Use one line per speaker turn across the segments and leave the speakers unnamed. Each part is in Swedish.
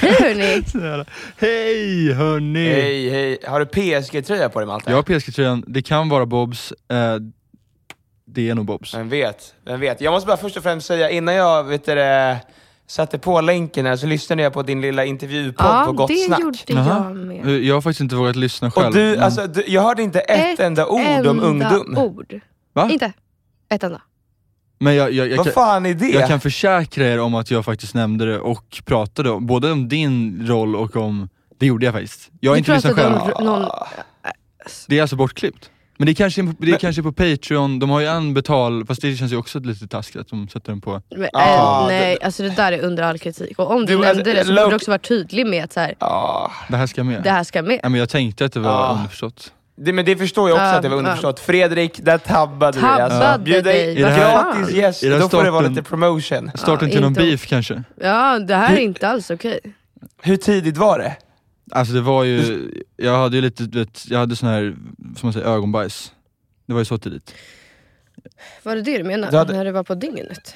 Hej hörni!
Hej hörni!
Hej, hej. Har du PSG-tröja på dig Malte?
Jag har PSG-tröjan, det kan vara Bobs, eh, det är nog Bobs.
Vem vet? Vem vet? Jag måste bara först och främst säga, innan jag vet du, det, satte på länken här så lyssnade jag på din lilla intervjupodd på
Ja,
Gott
det
Snack.
gjorde
Jaha.
jag med.
Eh, Jag har faktiskt inte vågat lyssna själv.
Och du,
men-
alltså, du, jag hörde inte ett, enda ord om ungdom.
ord.
Va?
Inte ett enda.
Men jag, jag, jag,
Vad
kan,
fan är det?
jag kan försäkra er om att jag faktiskt nämnde det och pratade om, både om din roll och om, det gjorde jag faktiskt. Jag har
Vi
inte lyssnat själv.
pratade om r- någon...
Ah.
Det är alltså bortklippt. Men det är kanske är på, det är kanske är på Patreon, de har ju en betal, fast det känns ju också lite taskigt att de sätter den på.
Men,
Ah,
eh,
det-
nej, alltså det där är under all kritik. Och om du,
Du,
nämnde
alltså,
det så
low-
borde du också vara tydlig med att så här,
Ja.
Det här ska med.
det här ska med.
Nej, men jag tänkte att det var
Ah.
underförstått.
Det, men det förstår jag också
Ja,
att det var
ja.
underförstått. Fredrik, där tabbade,
Tabbade
du alltså. Bjud dig
dig. Är det
här-
gratis gäst,
är det här
då får det vara
starten?
lite promotion.
Starten
Ja,
till någon
inte-
beef kanske?
Ja, det här är inte alls okej.
Hur tidigt var det?
Alltså det var ju, jag hade ju lite, du vet, jag hade sån här, som man säger, ögonbajs. Det var ju så tidigt.
Var det det du menade?
Du hade-
När det var på dygnet?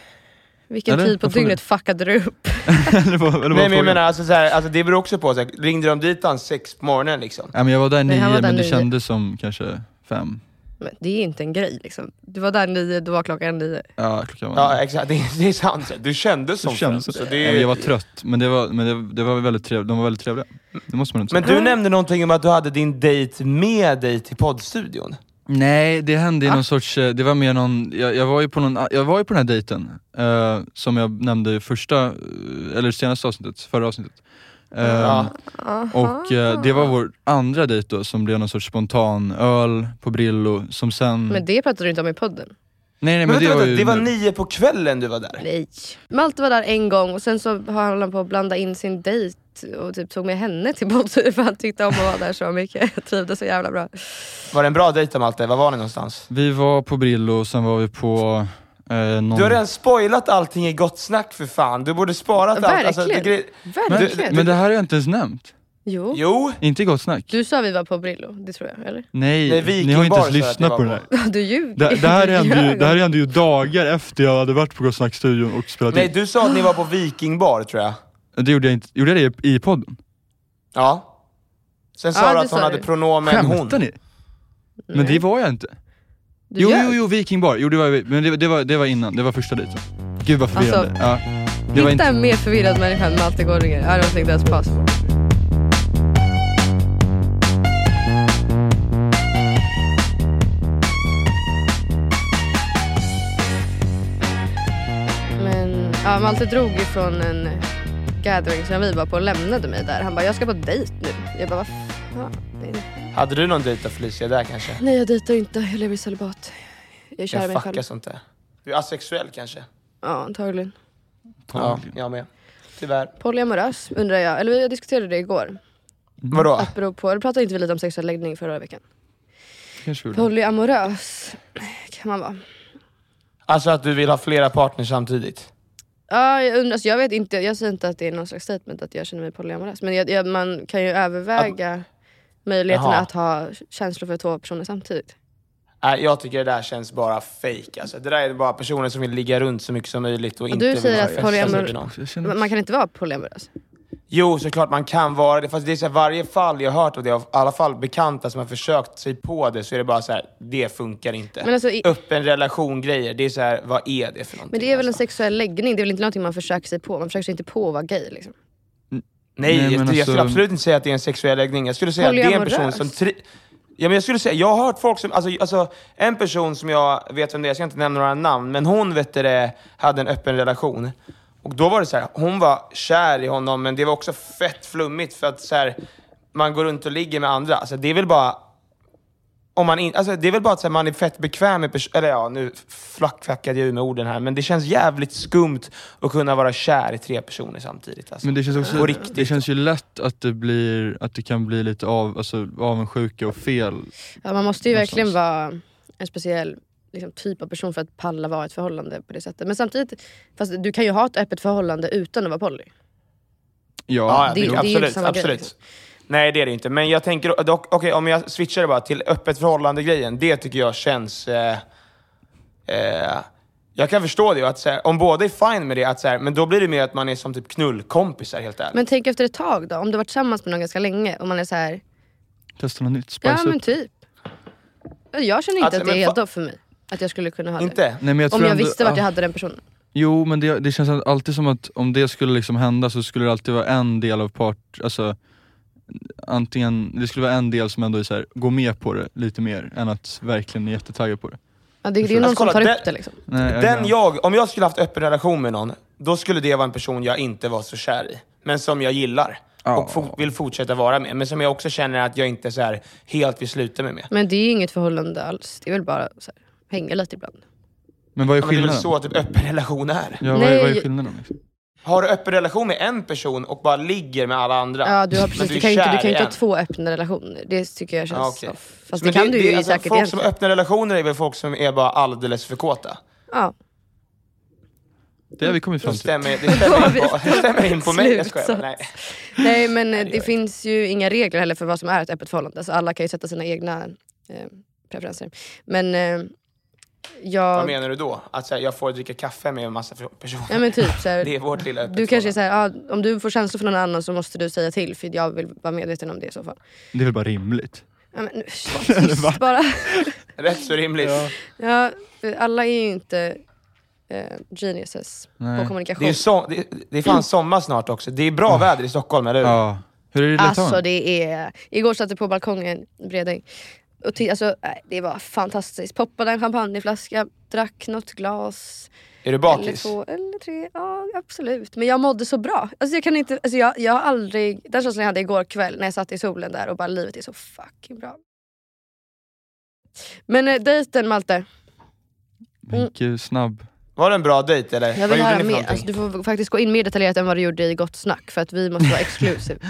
Vilken
Eller?
tid på
Vad frågar
dygnet fuckade du upp?
eller vad, eller vad
Nej men jag
frågan?
menar, alltså, så här, alltså, det beror också på. Så här, ringde de dit han sex på morgonen liksom?
Nej, men jag var där
Nej,
nio,
han var där
men det
nio.
kändes som kanske fem.
Men det är inte en grej liksom. Du var där nio, du var klockan nio.
Ja, klockan var
Ja exakt, det, det är sant. så här. Du kändes som
Det kändes
fem,
så.
det-
Nej, men Jag var trött, men, det var, men det, det var väldigt trevligt. de var väldigt trevliga. Det måste man inte
Men
säga.
du
Mm.
nämnde någonting om att du hade din dejt med dig till poddstudion.
Nej, det hände i någon sorts, eh, det var mer någon, jag, jag, var, ju på någon, jag var ju på den här dejten, eh, som jag nämnde i första, eh, eller senaste avsnittet, förra avsnittet. Eh,
Ja.
Och eh, det var
Ah.
vår andra dejt då, som blev någon sorts spontan öl på Brillo, som sen...
Men det pratade du inte om i podden.
nej, nej,
Men, vänta, det, var
ju
det var
nu.
nio på kvällen du var där.
Nej. Malte var där en gång och sen så höll han på att blanda in sin dejt och typ tog med henne till Botswana för han tyckte om att vara där så mycket. Jag trivdes så jävla bra.
Var det en bra dejt då, Malte? Var var ni någonstans?
Vi var på Brillo, sen var vi på eh, någon...
Du har redan spoilat allting i Gott Snack för fan. Du borde sparat allt. Alltså,
Verkligen.
det gre-
Verkligen.
Men det här har jag inte ens nämnt.
jo.
jo,
Inte i Gott Snack.
Du sa vi var på Brillo, det tror jag. Eller?
Nej,
Nej,
ni har
Vikingbar
inte
sa jag
ens
att det
lyssnat
var
på det
på.
här.
Du ljuger.
Det, det, här
Du
hände ju,
ljög.
det här hände ju dagar efter jag hade varit på Gott Snack-studion och spelat
nej
in.
du sa att ni var på Vikingbar tror jag.
Det gjorde jag inte. Gjorde jag det i, i podden?
Ja. Sen sa
Ja,
du
det
att
sa
hon hade
du.
pronomen hon.
Skämtar ni? Men det var jag inte.
Du
Jo,
ljög.
jo, jo, Vikingbar. Jo, det var, men det, det, var, det var innan. Det var första dejten. Gud vad förvirrande.
Alltså,
ja. Det
Hitta
var inte,
en mer förvirrad människa än Malte Gårdinger. I don't think that's possible. Men ja, Malte drog ju från en gathering som vi var på och lämnade mig där. Han bara, jag ska på dejt nu. Jag bara, vad fan? är det?"
Hade du någon dejt då Felicia där kanske?
Nej, jag dejtar inte. Jag lever i celibat. Jag är kär i mig
Jag fuckar
själv.
sånt där. Du är asexuell kanske?
Ja, antagligen.
Ja, jag med. Tyvärr.
Polyamorös undrar jag. Eller jag diskuterade det igår.
Vadå?
Mm.
Att bero på, det pratade inte vi lite om sexuell läggning förra veckan?
kanske vi vill ha.
Polyamorös kan man vara.
Alltså att du vill ha flera partners samtidigt.
Ja, jag, undrar, alltså jag, vet inte, jag säger inte att det är någon slags statement att jag känner mig polyamorös, men jag, jag, man kan ju överväga möjligheten
Jaha.
att ha känslor för två personer samtidigt.
Nej, jag tycker det där känns bara fake. Alltså, det där är bara personer som vill ligga runt så mycket som möjligt och,
Och
inte
du
vill
säger
ha
att
festa sig
polyamor-
med någon.
Jag känner-
Man man kan inte vara polyamorös.
Jo, såklart man kan vara det. Fast det är så här, varje fall jag har hört och det, av i alla fall bekanta som har försökt sig på det, så är det bara så här, det funkar inte.
Men alltså i-
Öppen relation-grejer, det är så här, vad är det för någonting?
Men det är väl en
alltså?
sexuell läggning, det är väl inte någonting man försöker sig på? Man försöker sig inte på att vara gay. Liksom.
Nej,
Nej, men
jag, jag skulle
alltså-
absolut inte säga att det är en sexuell läggning. Jag skulle säga att det är en person
Polyamorös.
som... Tri- ja, men jag skulle säga, jag har hört folk som... Alltså, alltså, en person som jag vet vem det är, jag ska inte nämna några namn, men hon vet du det, hade en öppen relation. Och då var det så här, hon var kär i honom, men det var också fett flummigt för att så här, man går runt och ligger med andra. Alltså, det är väl bara... Om man in, alltså, det är väl bara att så här, man är fett bekväm med pers- Eller ja, nu flackfackade jag ur med orden här, men det känns jävligt skumt att kunna vara kär i tre personer samtidigt. Alltså.
Men det känns,
På
också,
riktigt.
det känns ju lätt att det, blir, att det kan bli lite av, alltså, avundsjuka och fel.
Ja, man måste ju
Någonstans.
verkligen vara en speciell liksom, typ av person för att palla vara i ett förhållande på det sättet. Men samtidigt, fast du kan ju ha ett öppet förhållande utan att vara poly.
Ja, ja,
det-
det,
det är ju inte
absolut.
samma grej,
absolut.
liksom.
Nej, det är det inte. Men jag tänker, dock, okej, om jag switchar det bara till öppet förhållande-grejen. Det tycker jag känns... Eh, eh, jag kan förstå det. Att, så här, om båda är fine med det, att, så här, men då blir det mer att man är som typ knullkompisar helt ärligt.
Men tänk efter ett tag då, om du varit tillsammans med någon ganska länge och man är så här,
Testa något nytt, spice
ja men
upp.
typ. Jag känner inte
Alltså,
att det är
men
helt
fa-
off för mig. Att jag skulle kunna ha det.
inte?
Nej, men jag
Om
tror
jag
ändå-
visste vart
ja.
jag hade den personen.
Jo, men det, det känns alltid som att om det skulle liksom hända så skulle det alltid vara en del av part, alltså antingen, det skulle vara en del som ändå är så här, går med på det lite mer än att verkligen är jättetaggad på det.
Ja, det, det är ju någon
Alltså, kolla,
som tar
det-
upp det liksom.
Nej,
Den jag, om jag skulle haft öppen relation med någon, då skulle det vara en person jag inte var så kär i. Men som jag gillar och fo- vill fortsätta vara med. Men som jag också känner att jag inte så här, helt vill sluta med. med.
Men det är ju inget förhållande alls. Det är väl bara så här, hänga lite ibland.
Men vad är
Ja, Men det är väl
skillnaden?
så typ, öppen relation är?
Ja, vad, är, vad är
Nej.
skillnaden? Liksom?
Har du öppen relation med en person och bara ligger med alla andra?
Ja, du, har
Men
precis, du, kan ju inte,
kär
du kan ju
i
inte ha
en.
två öppna relationer. Det tycker jag känns
Ja, okej.
off. Fast
Men alltså,
det kan du ju säkert
Folk som
egentligen.
har öppna relationer är väl folk som är bara alldeles för kåta?
Ja.
Det har vi kommit
Det
fram till.
stämmer, det stämmer, in, på, det stämmer in på mig. Jag skojar bara. Nej.
Nej men eh, det finns ju inga regler heller för vad som är ett öppet förhållande. Så alla kan ju sätta sina egna eh, preferenser. Men eh,
Vad
jag...
menar du då? Att så här, jag får dricka kaffe med en massa för- personer?
Ja, men typ, så här,
det är vårt lilla öppet
Du kanske är
förhållande.
såhär, ah, om du får känslor för någon annan så måste du säga till för jag vill vara medveten om det i så fall.
Det är väl bara rimligt?
Ja, men, nu- tyst bara.
Rätt så rimligt.
Ja, för alla är ju inte eh, geniuses på
Nej.
Det är,
kommunikation.
ju så, det, det är fan sommar snart också. Det är bra väder i Stockholm, eller hur?
Ja. Hur är det i
Alltså
Litauen?
det är... Igår satt jag på balkongen i Bredäng. Och ty, alltså, äh, det var fantastiskt. Poppade en champagneflaska, drack något glas.
Är
Eller
du bakis?
två eller tre, ja absolut. Men jag mådde så bra. Alltså jag kan inte, alltså jag, jag har aldrig, den känslan jag hade igår kväll när jag satt i solen där och bara livet är så fucking bra. Men eh, dejten Malte, Mm.
Mycket snabb.
Var det en bra dejt, eller?
jag
Vad
vill
gjorde
höra
ni för
mer.
någonting?
Alltså, du får faktiskt gå in mer detaljerat än vad du gjorde i Gott Snack för att vi måste vara exclusive.
Ja,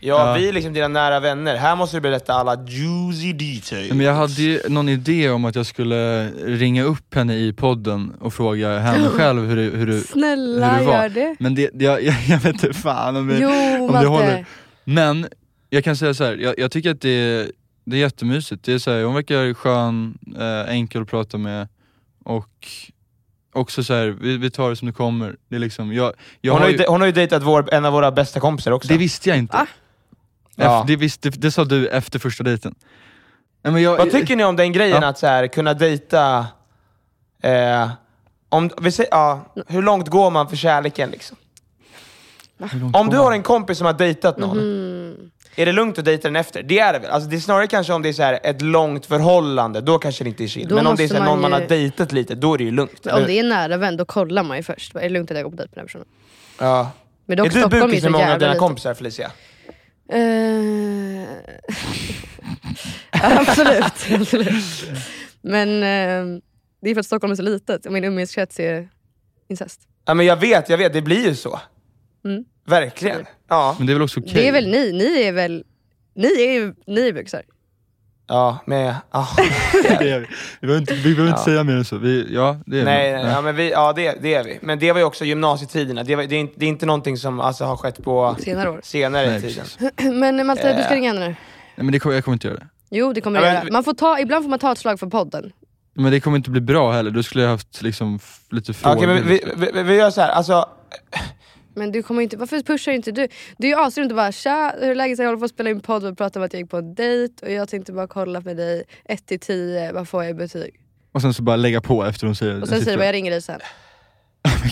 Ja.
vi är liksom dina nära vänner. Här måste du berätta alla juicy details.
Men jag hade ju någon idé om att jag skulle ringa upp henne i podden och fråga henne själv hur det, hur det, hur
Snälla
det var.
gör det.
Men det, det- jag, jag, jag vet inte fan om det,
Jo
om det
Malte.
håller. Men jag kan säga så här. Jag, jag tycker att det är, det är jättemysigt. Det är så här, hon verkar skön, eh, enkel att prata med och också så här, vi, vi tar det som det kommer. Det är liksom, jag, jag
hon, har
har
ju, de- hon har ju dejtat vår, en av våra bästa kompisar också.
det visste jag inte.
Va?
Ja.
Ef- Det, visste, det sa du efter första dejten. Nej, men jag,
Vad tycker ni om den grejen
Ja.
att så här, kunna dejta... Eh, om, vi säger, ja, hur långt går man för kärleken? Liksom?
Hur långt
Om
går
du
man?
har en kompis som har dejtat någon,
Mm.
är det lugnt att dejta den efter? Det är det väl? Alltså, det är snarare kanske om det är så här, ett långt förhållande, då kanske det inte är chill.
Då
Men om det är
måste
så här, någon
man
man
ju-
har dejtat lite, då är det ju lugnt.
Men Om det är en nära vän då kollar man ju först. Är det lugnt att jag går på dejt med den här personen?
ja.
Men
Är
dock,
du
Stockholm
bukis
så
med många av
jävla
dina
litet.
kompisar Felicia?
Eh, absolut, absolut. Men eh, det är för att Stockholm är så litet och min umgängeskrets är incest.
Ja, men jag vet, jag vet. Det blir ju så.
Mm.
Verkligen. Ja.
Men det är väl också okej?
Det är väl ni? Ni är väl ni är ju ni är byxor?
Ja, med... ja.
Det är vi. Vi behöver inte, vi behöver inte
Ja.
säga mer än så. Vi, ja, det är
Nej,
vi.
nej, ja, men vi, ja det, det är vi. Men det var ju också gymnasietiderna. Det, var, det, är, inte, det är inte någonting som alltså, har skett på
senare år.
senare i
Nej,
tiden.
precis.
Men Malte, du ska
Eh.
ringa henne nu.
Nej, men det kommer, jag kommer inte göra det.
Jo, det kommer
Ja,
du
men-
göra. Man får ta, ibland får man ta ett slag för podden.
Men det kommer inte bli bra heller. Då skulle jag haft liksom, f- lite
Okej,
frågor.
men vi, vi, vi- vi gör så här. Alltså,
Men du kommer inte, varför pushar inte du? Du är ju asrymt och bara “tja, hur är läget? Jag håller på att spela in podd och prata om att jag gick på en dejt och jag tänkte bara kolla med dig, 1 till 10, vad får jag i betyg?”
Och sen så bara lägga på efter hon säger
Och sen säger du bara “jag ringer dig sen”.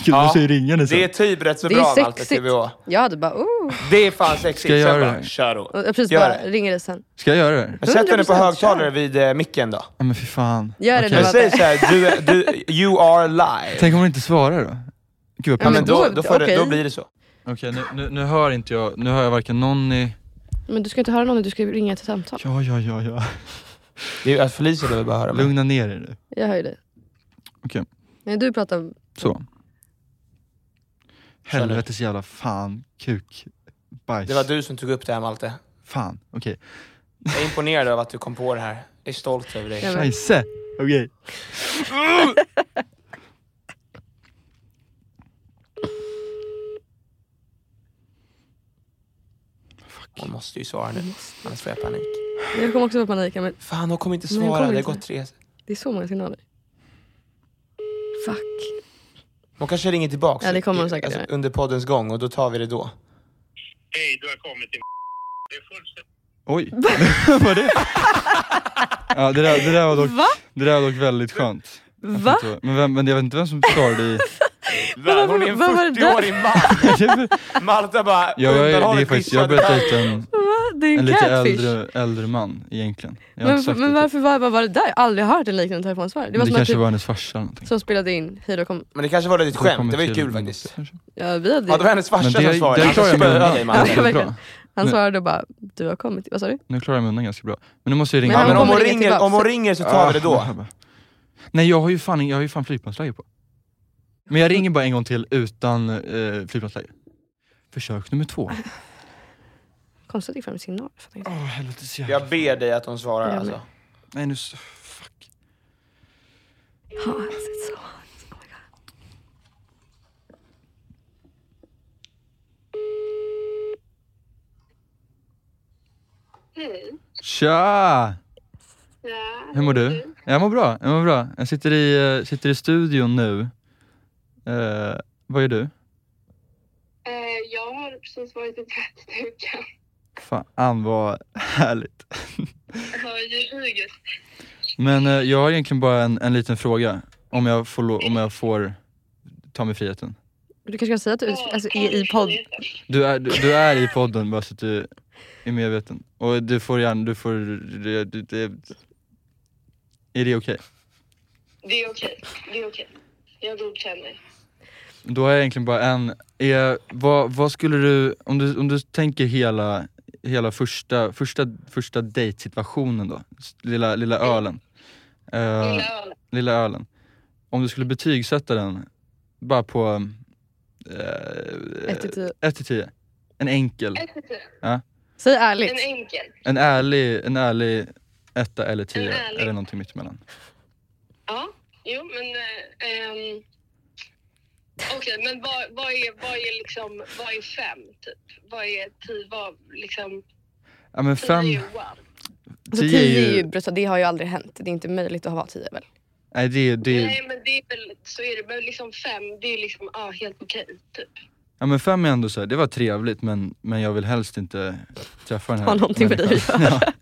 Gud, du säger ringande sen.
det är typ rätt så
Det är
bra Malte,
sexigt.
TBH.
Jag hade bara “oh”.
Det är fan sexigt.
Ska jag
Så
göra
bara,
det?
Kör då.
Och jag precis
Gör
bara
det.
“ringer dig sen”.
Ska jag göra det?
Men sätt henne på
100%
högtalare vid eh, micken då.
Ja, men fy fan.
Gör det
Okej.
nu,
Men
Malte.
säg såhär, du, är- du, you are live.
Tänk om hon inte svarar då? Gud vad
Ja,
Ja, men
pinsamt.
då, då, får det, då
Okej.
blir det så.
Okej, nu, nu, nu hör inte jag, nu hör jag varken Nonny...
Men du ska inte höra någon, du ska ringa ett samtal.
Ja, ja, ja, ja.
Det är ju att Felicia behöver bara höra. mig.
Lugna ner er nu.
Jag hör ju dig.
Okej.
Nej, du pratar om...
Så.
Kör nu.
Helvetes jävla fan, kuk, bajs.
Det var du som tog upp det här Malte.
Fan, okej.
Jag är imponerad över att du kom på det här. Jag är stolt över dig.
Nej, men-
Scheisse! Okej.
Hon måste ju svara nu, annars får jag panik.
Jag kommer också få panik, men
Fan, hon kommer inte
Nej, hon
svara.
kommer
det
inte.
har gått tre...
det är så många signaler. Fuck.
Hon kanske ringer tillbaka. alltså,
Ja, det kommer hon säkert göra.
under poddens gång och då tar vi det då.
Hej, du har kommit till Det är fullständigt...
Oj. Vad var det? Ja, det, där, det, där var dock,
Va?
det där var dock väldigt skönt. Jag
Va?
fattar inte vad- Men, vem, men jag vet inte vem som svarade i...
Vär, hon är en
vad var det där?
40-årig man. Malta bara
Ja, jag, är- det är
undanhållit
faktiskt, jag har
dissade
börjat
mig.
dejta en,
Det är
en
en
lite
catfish.
äldre, äldre man egentligen. Jag har inte
Men,
sagt
men
det.
varför var, var, var det där? Jag har aldrig hört en liknande telefonsvarare. Det
Men
var
det
som att
kanske
typ,
var hennes farsa eller någonting.
som spelade in Hej då kom...
Men det kanske var ett
Så
skämt.
kommer
Det var ju
till-
kul faktiskt.
Ja, vi hade,
Ja, det var hennes farsa
Men det,
som svarade.
det
Alltså, Han
klarar jag mig
spöade
undan
dig Malte.
Ja,
ganska
verkligen.
bra.
Han
Nej.
svarade och bara Du har kommit. Vad sa du?
Nu klarar jag mig undan ganska bra. Men nu måste jag ringa.
Men
Ja,
han
men om
kommer
hon,
ringa
ringer,
tillbaka.
om hon ringer så tar vi det då.
Ah, bara. Nej jag har ju fan, jag har ju fan flygplansläge på. Men jag ringer bara en gång till utan eh, flygplansläge. Försök nummer två.
Konstigt att det gick fram en signal. fattar inte.
Åh helvetes jävla...
Jag ber dig att hon svarar
Ja,
alltså.
Nej nu... s- Fuck.
Hans, it's so hot. Oh my God.
Tja! Hur mår du? Jag mår bra, jag mår bra. Jag sitter i, eh, sitter i studion nu. Eh, vad gör du?
Eh, jag har precis varit i tvättstugan.
Fan vad härligt.
Hör ljuget.
Men eh, jag har egentligen bara en, en liten fråga. Om jag får, lo- om jag får ta mig friheten.
Du kanske kan säga att du alltså, är i podd.
Du är, du, du är i podden bara så att du är medveten. Och du får gärna, du får... Du, du, det, är det okej?
Det är okej. Det är okej. Jag godkänner.
Då har jag egentligen bara en. Är, vad, vad skulle du, om du, om du tänker hela, hela första, första, första dejtsituationen då, s- lilla, lilla ölen. Eh,
Lilla ölen.
lilla ölen. Om du skulle betygsätta den, bara på... Eh,
Ett till tio.
1 till 10. En enkel,
Ett till tio.
Säg
En
ärligt.
enkel.
en ärlig, en ärlig etta eller
En
tio
ärlig.
eller någonting mittemellan.
Ja, jo men... Eh, ehm, Okej, men vad, vad, är, vad är liksom... Vad är fem, typ? Vad är tio? Vad liksom...
Ja men
Tio
fem,
är one.
Alltså,
tio
tio är ju brutalt. Det har ju aldrig hänt. Det är inte möjligt att ha varit tio väl?
nej det är, det är,
Nej, men det är väl... Så är det. Men liksom fem, det är liksom... Ja, ah, helt okej, typ.
ja men fem är ändå så här, det var trevligt men, men jag vill helst inte träffa den här
Ha någonting med dig
människan.
att göra.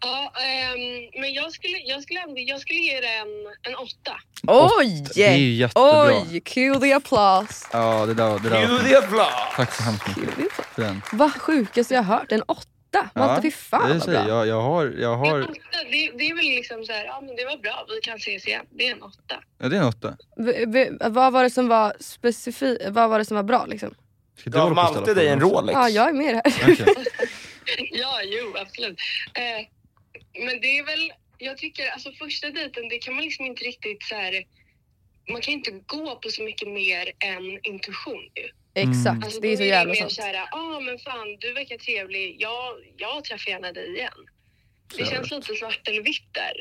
Ja, ehm, men jag skulle, jag skulle ändå... Jag skulle ge det en, en åtta.
Oj!
Det är ju jättebra.
Oj! Cue the applause.
Ja det där var, det där var
Gud,
fint.
det är bra.
Tack så hemskt
Cue
mycket
the applause.
för den.
Vad sjukaste jag har hört. En åtta. Malte, fy fan
det
vad
säger
bra.
jag, jag har, jag
En
har,
åtta, det, det är väl liksom så här, ja men det var bra, vi kan ses igen. Det är en åtta.
ja det är en åtta.
V- v- Vad var det som var specifikt? Vad var det som var bra liksom?
Ska du
Gav
hålla på och ställa
Malte dig en
frågor också?
Rolex?
Ja, jag är med i det här.
Okej.
Ja, jo absolut. Eh, men det är väl, jag tycker alltså första dejten, det kan man liksom inte riktigt så här, man kan inte gå på så mycket mer än intuition ju.
Mm.
Exakt,
Alltså,
Mm. det är
då
så jävla
mer
sant.
så här, ja ah, men fan du verkar trevlig, jag, jag träffar gärna dig igen. Det
Sådär.
känns lite svart eller vitt där.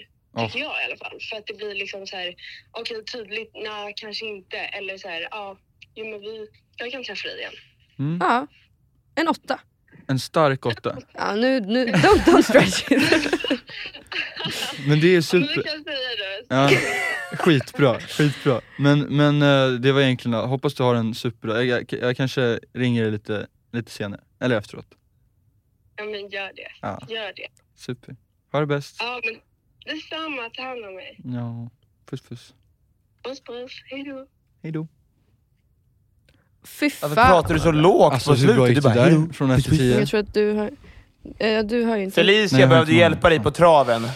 Tycker
Ja.
jag i alla fall. För att det blir liksom så här, okej tydligt, nej kanske inte. Eller så här, ja, jo men vi, jag kan träffa dig igen.
Ja. En åtta.
En stark åtta.
Ja, nu, nu, don't, don't stretch it.
Men det är
Ja, men det
super...
kan jag säga då.
Ja, skitbra, skitbra. Men, men eh, det var egentligen, hoppas du har en superbra, jag, jag, jag kanske ringer dig lite, lite senare, eller efteråt.
Ja men gör det.
Ja.
Gör det.
Super. Ha det bäst.
Ja men detsamma, ta hand om mig.
Ja, puss puss.
Puss puss, hejdå.
Hejdå.
Fy
Varför
fan.
pratar du så lågt
Alltså
på
hur bra
slutet? Du
gick
bara,
det där
"Hejdå."
från efter tio?
Jag tror att du har... Eh, du har ju inte...
Felicia
Nej, jag har
behövde
inte
hjälpa dig på traven.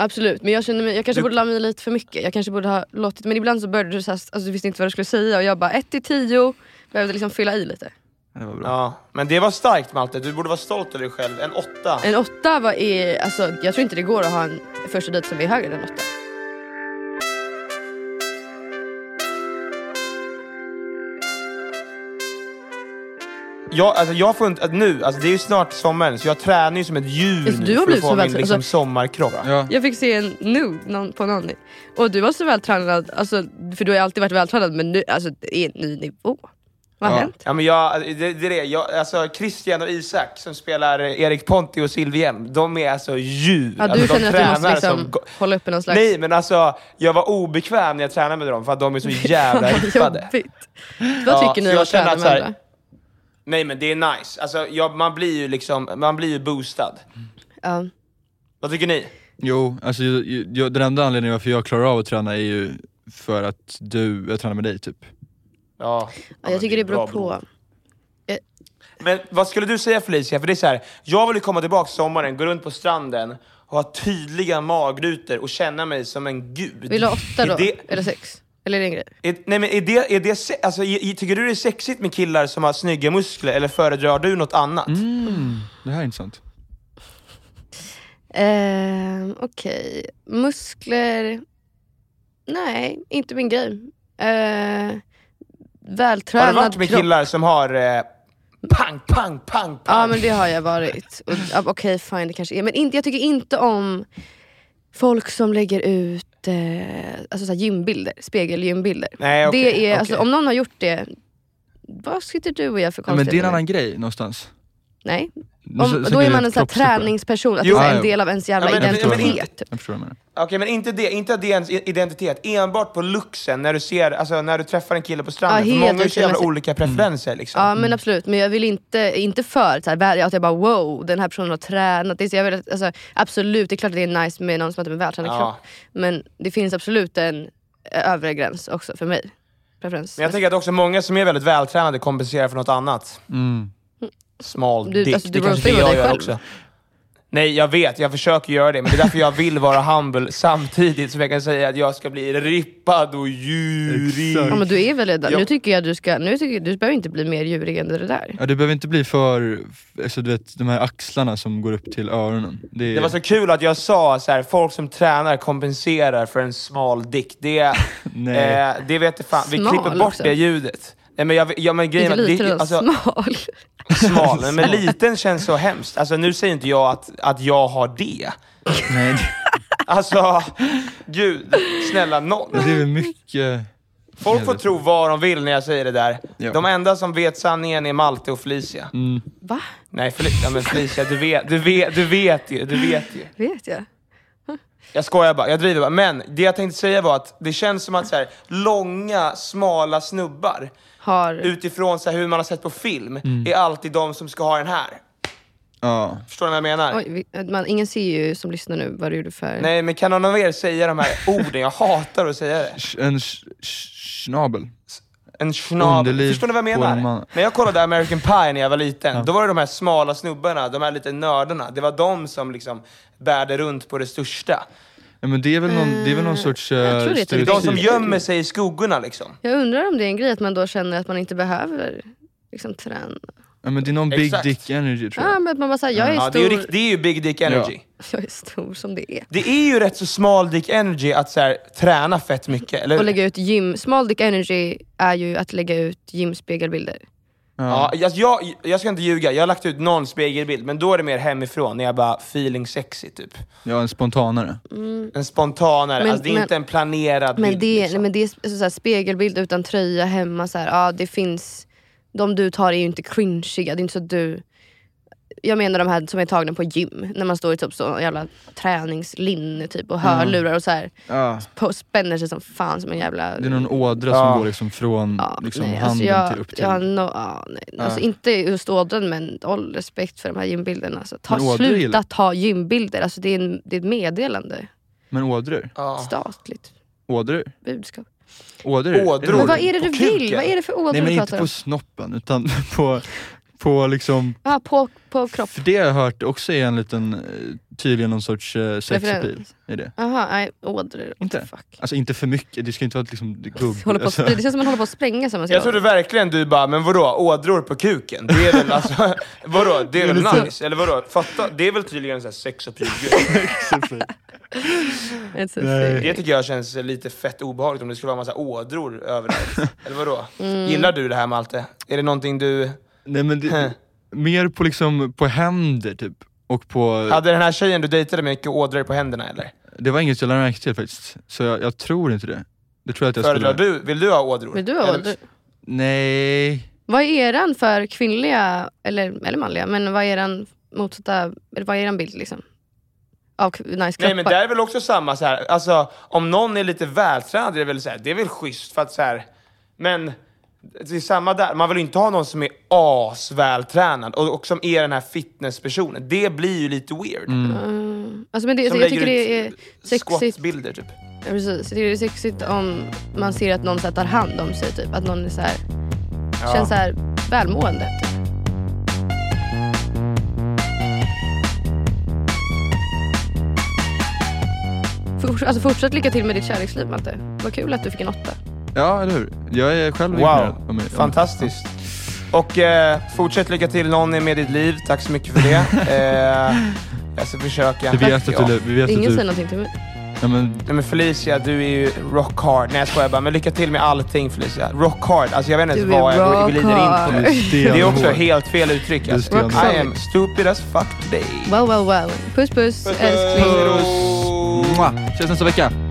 Absolut, men jag känner mig, jag kanske
Du-
borde la mig i lite för mycket. Jag kanske borde ha låtit, men ibland så började du såhär, alltså du visste inte vad du skulle säga och jag bara 1 till 10 behövde liksom fylla i lite.
Ja, Det var bra.
Ja, men det var starkt Malte. Du borde vara stolt över dig själv. En åtta.
En åtta var är, alltså jag tror inte det går att ha en första dejt som är högre än åtta.
Jag, alltså, jag får inte, att nu, alltså, det är ju snart sommaren, så jag tränar ju som ett djur
Alltså,
nu
du har
för att
blivit
få
så
min
väl-
liksom,
alltså-
sommarkropp.
Ja.
Jag fick se en nude någon, på någon och du var så vältränad, alltså, för du har ju alltid varit vältränad men nu, alltså det är en ny nivå. Vad har
Ja.
hänt?
Ja, men jag, det, det är det. Jag, alltså, Christian och Isak som spelar Erik Ponti och Silviem, de är alltså djur.
Ja, du
alltså, de
känner att du måste
tränar
liksom
som go-
hålla uppe någon slags...
Nej, men alltså jag var obekväm när jag tränade med dem för att de är så jävla
Fan, vad
rippade.
jobbigt. Vad tycker
Ja, så
ni om
jag
att
känner
träna
att
med
så här-
andra?
Nej, men det är nice. Alltså, jag, man blir ju liksom, man blir ju boostad.
Ja.
Vad tycker ni?
Jo, alltså ju- ju- jag, den enda anledningen varför jag klarar av att träna är ju för att du, jag tränar med dig typ.
Ja,
Ja, jag tycker det beror på.
Men vad skulle du säga Felicia? För det är så här, jag vill ju komma tillbaka sommaren, gå runt på stranden och ha tydliga magrutor och känna mig som en gud.
Vill du ha åtta då?
Är det,
Eller sex? Eller är det en grej?
är, nej men är det, är det, se- alltså, i- i- tycker du det är sexigt med killar som har snygga muskler eller föredrar du något annat?
Mm,
Det här är intressant.
Ehm, Okej, muskler... Nej, inte min grej. Ehm,
har du
vältränad
varit med
kropp.
killar som har eh, pang, pang, pang, pang?
Ja men det har jag varit. Och- ja, Okej fine det kanske är. Men inte, jag tycker inte om folk som lägger ut eh, alltså, så här gymbilder, spegelgymbilder.
Nej, okej,
det är,
okej.
alltså, om någon har gjort det, vad sitter du och gör för
Ja, men det är en
konstigheter?
annan grej någonstans.
Nej,
Du
om,
s-
då
sätter
är
rent
man en sån här
kroppslupa.
träningsperson, att
Jo.
det är
Ja,
en
ja.
del av ens jävla
Ja, men-
men- men-
identitet.
Jag förstår vad du menar.
Okej, men inte det, inte att det är ens i- identitet. Enbart på looksen, när du ser, alltså när du träffar en kille på
Ja,
stranden. För
helt
många har ju så jävla
otroligt.
olika preferenser liksom.
Ja men absolut, men jag vill inte, inte för så här, väl- att jag bara wow, den här personen har tränat. Det är, så jag vill, att- alltså, absolut, det är klart att det är nice med någon som har typ en vältränad
Ja.
kropp. Men det finns absolut en eh, övre gräns också för mig. Preferens.
Men jag tänker att också många som är väldigt vältränade kompenserar för något annat.
Mm.
Smal
Du-
dick.
alltså, du
det kanske
roastar ju
det jag
dig
gör
själv.
också. Nej, jag vet. Jag försöker göra det. Men det är därför jag vill vara humble samtidigt som jag kan säga att jag ska bli rippad och djurig.
Exakt.
ja, men du är väl redan,
Ja.
nu tycker jag att du ska, nu tycker, jag- du behöver inte bli mer djurig än det där.
Ja, det behöver inte bli för, alltså, du vet de här axlarna som går upp till öronen. Det är,
Det var så kul att jag sa så här, folk som tränar kompenserar för en smal dick. Det, eh,
Nej.
det vet jag fan. Vi
Smal
klipper bort
också.
det ljudet. Nej, men jag, ja, men grejen
Inte
är att det-
liten utan
alltså,
smal.
smal. Nej, Men liten känns så hemskt. Alltså, nu säger inte jag att, att jag har det.
Nej,
Alltså, gud. Snälla nån.
det, det är väl mycket...
Folk får tro vad de vill när jag säger det där.
Ja. Mm.
De enda som vet sanningen är Malte och Felicia.
Va?
Nej, Fel- ja, men Felicia, du vet, du, vet, du vet ju. Du vet ju.
Vet jag?
Jag skojar bara, jag driver bara. Men det jag tänkte säga var att det känns som att så här, långa, smala snubbar
Har...
utifrån så här, hur man har sett på film
Mm.
är alltid de som ska ha den här.
Ja.
Förstår ni vad jag menar?
Oj, vi- eh, man, ingen ser ju som lyssnar nu vad du gjorde för...
Nej, men kan någon av er säga de här orden? Jag hatar att säga det.
Sch- En sch- sch- schnabel.
En schnabel.
Underliv
Förstår ni vad jag
på en
menar?
man.
När jag kollade American Pie när jag var liten, då var det de här smala snubbarna, de här lite nördarna. Det var de som liksom bärde runt på det största.
Ja, men det är väl någon, det är väl någon sorts
Eh, jag tror
uh,
det är
Det är de som
Precis.
gömmer sig i skuggorna liksom.
Jag undrar om det är en grej att man då känner att man inte behöver liksom, träna.
Ja, men det är någon big
Exakt.
dick energy tror jag.
Ja, men att man bara säger jag är
Ja, det,
stor.
är ju, rikt- det är ju big dick energy.
jag är stor som det är.
Det är ju rätt så smal dick energy att så här, träna fett mycket, eller
Och
hur?
lägga ut gym. Small dick energy är ju att lägga ut gymspegelbilder.
Ja. alltså jag, jag ska inte ljuga, jag har lagt ut någon spegelbild, men då är det mer hemifrån, när jag bara feeling sexy typ.
Ja, en spontanare.
En spontanare,
Men-
alltså det är
men-
inte en planerad
Men
bild.
det,
liksom.
nej, men det är alltså så så här, spegelbild utan tröja hemma, så här, ja, det finns, de du tar är ju inte cringiga. Det är inte så att du... Jag menar de här som är tagna på gym, när man står i typ så jävla träningslinne typ, och hörlurar och så här,
Ja.
på, spänner sig som fan som en jävla...
Det är någon ådra
Ja.
som går liksom från
ja,
liksom,
nej,
handen
alltså jag,
till upp till...
Jag, no, ja, nej, Alltså, inte just ådran men all respekt för de här gymbilderna. Alltså, ta,
Men ådror
sluta
gillar-
ta gymbilder, alltså, det, är en, det är ett meddelande.
Men ådror?
Ja.
Statligt
Ådror?
budskap.
Ådror?
Ådror?
Men vad är det
på
du
kuken?
vill? Vad är det för ådror
Nej men
du
inte
pratar om?
på snoppen utan på, på liksom...
Ja, på, på kropp.
För det har jag hört också är en liten, eh, tydligen någon sorts eh, sexappeal
Referens.
i det.
Jaha, nej ådror.
Inte?
Fuck.
Alltså inte för mycket, det ska inte vara liksom gubb...
Håller på att,
alltså,
spr- det känns som man håller på att spränga sig. om man säger
Jag trodde verkligen du bara, men vadå, ådror på kuken? Det är väl alltså, vadå, det är väl nice? Eller vadå, fatta, det är väl tydligen en sån här sex och
It's a thing.
Det tycker jag känns lite fett obehagligt om det skulle vara en massa ådror överallt. Eller vadå?
Mm.
Gillar du det här Malte? Är det någonting du...
Nej men det, mer på liksom, på händer typ. Och på...
Hade den här tjejen du dejtade mycket ådror på händerna eller?
Det var inget jag lade märke till faktiskt. Så jag, jag tror inte det. Det tror jag att jag
Föredrar
skulle...
du, vill du ha ådror?
Men du har
Eller-
ådror.
Nej.
Vad är eran för kvinnliga, eller, eller manliga, men vad är eran motsatta, eller vad är eran bild liksom? Av k- nice
Nej
kroppar?
men där är väl också samma så här. alltså om någon är lite vältränad det är väl så här, det är väl schysst för att så här, men det är samma där, man vill ju inte ha någon som är asvältränad och, och som är den här fitnesspersonen. Det blir ju lite weird. Mm.
alltså, men det,
Som
jag tycker
lägger
det är
ut
sexigt, ja,
squatbilder typ.
precis, jag tycker det är sexigt om man ser att någon så här, tar hand om sig, typ. att någon är så här, känns så här, välmående. Typ. Forts- Alltså fortsätt lycka till med ditt kärleksliv Malte. Vad kul att du fick en åtta.
Ja, eller hur? Jag är själv imponerad av
Wow,
mig- av-
fantastiskt. Och eh, fortsätt lycka till någon är med ditt liv, tack så mycket för det. eh, jag ska försöka.
Vi vet att
Ja.
du... Vi vet
Ingen
att
säger
du
någonting till mig.
ja, men,
Nej men Felicia, du är ju rock hard. Nej jag skojar bara, men lycka till med allting Felicia. Rock hard, alltså jag vet inte
Du
ens vad
är
jag
rock
glider in på
hard.
nu. Det är också
stenhård.
helt fel uttryck
är
alltså.
stenhård.
I am stupid as fuck today.
Well well well. Puss puss, älskling.
Mua. Ses nästa vecka.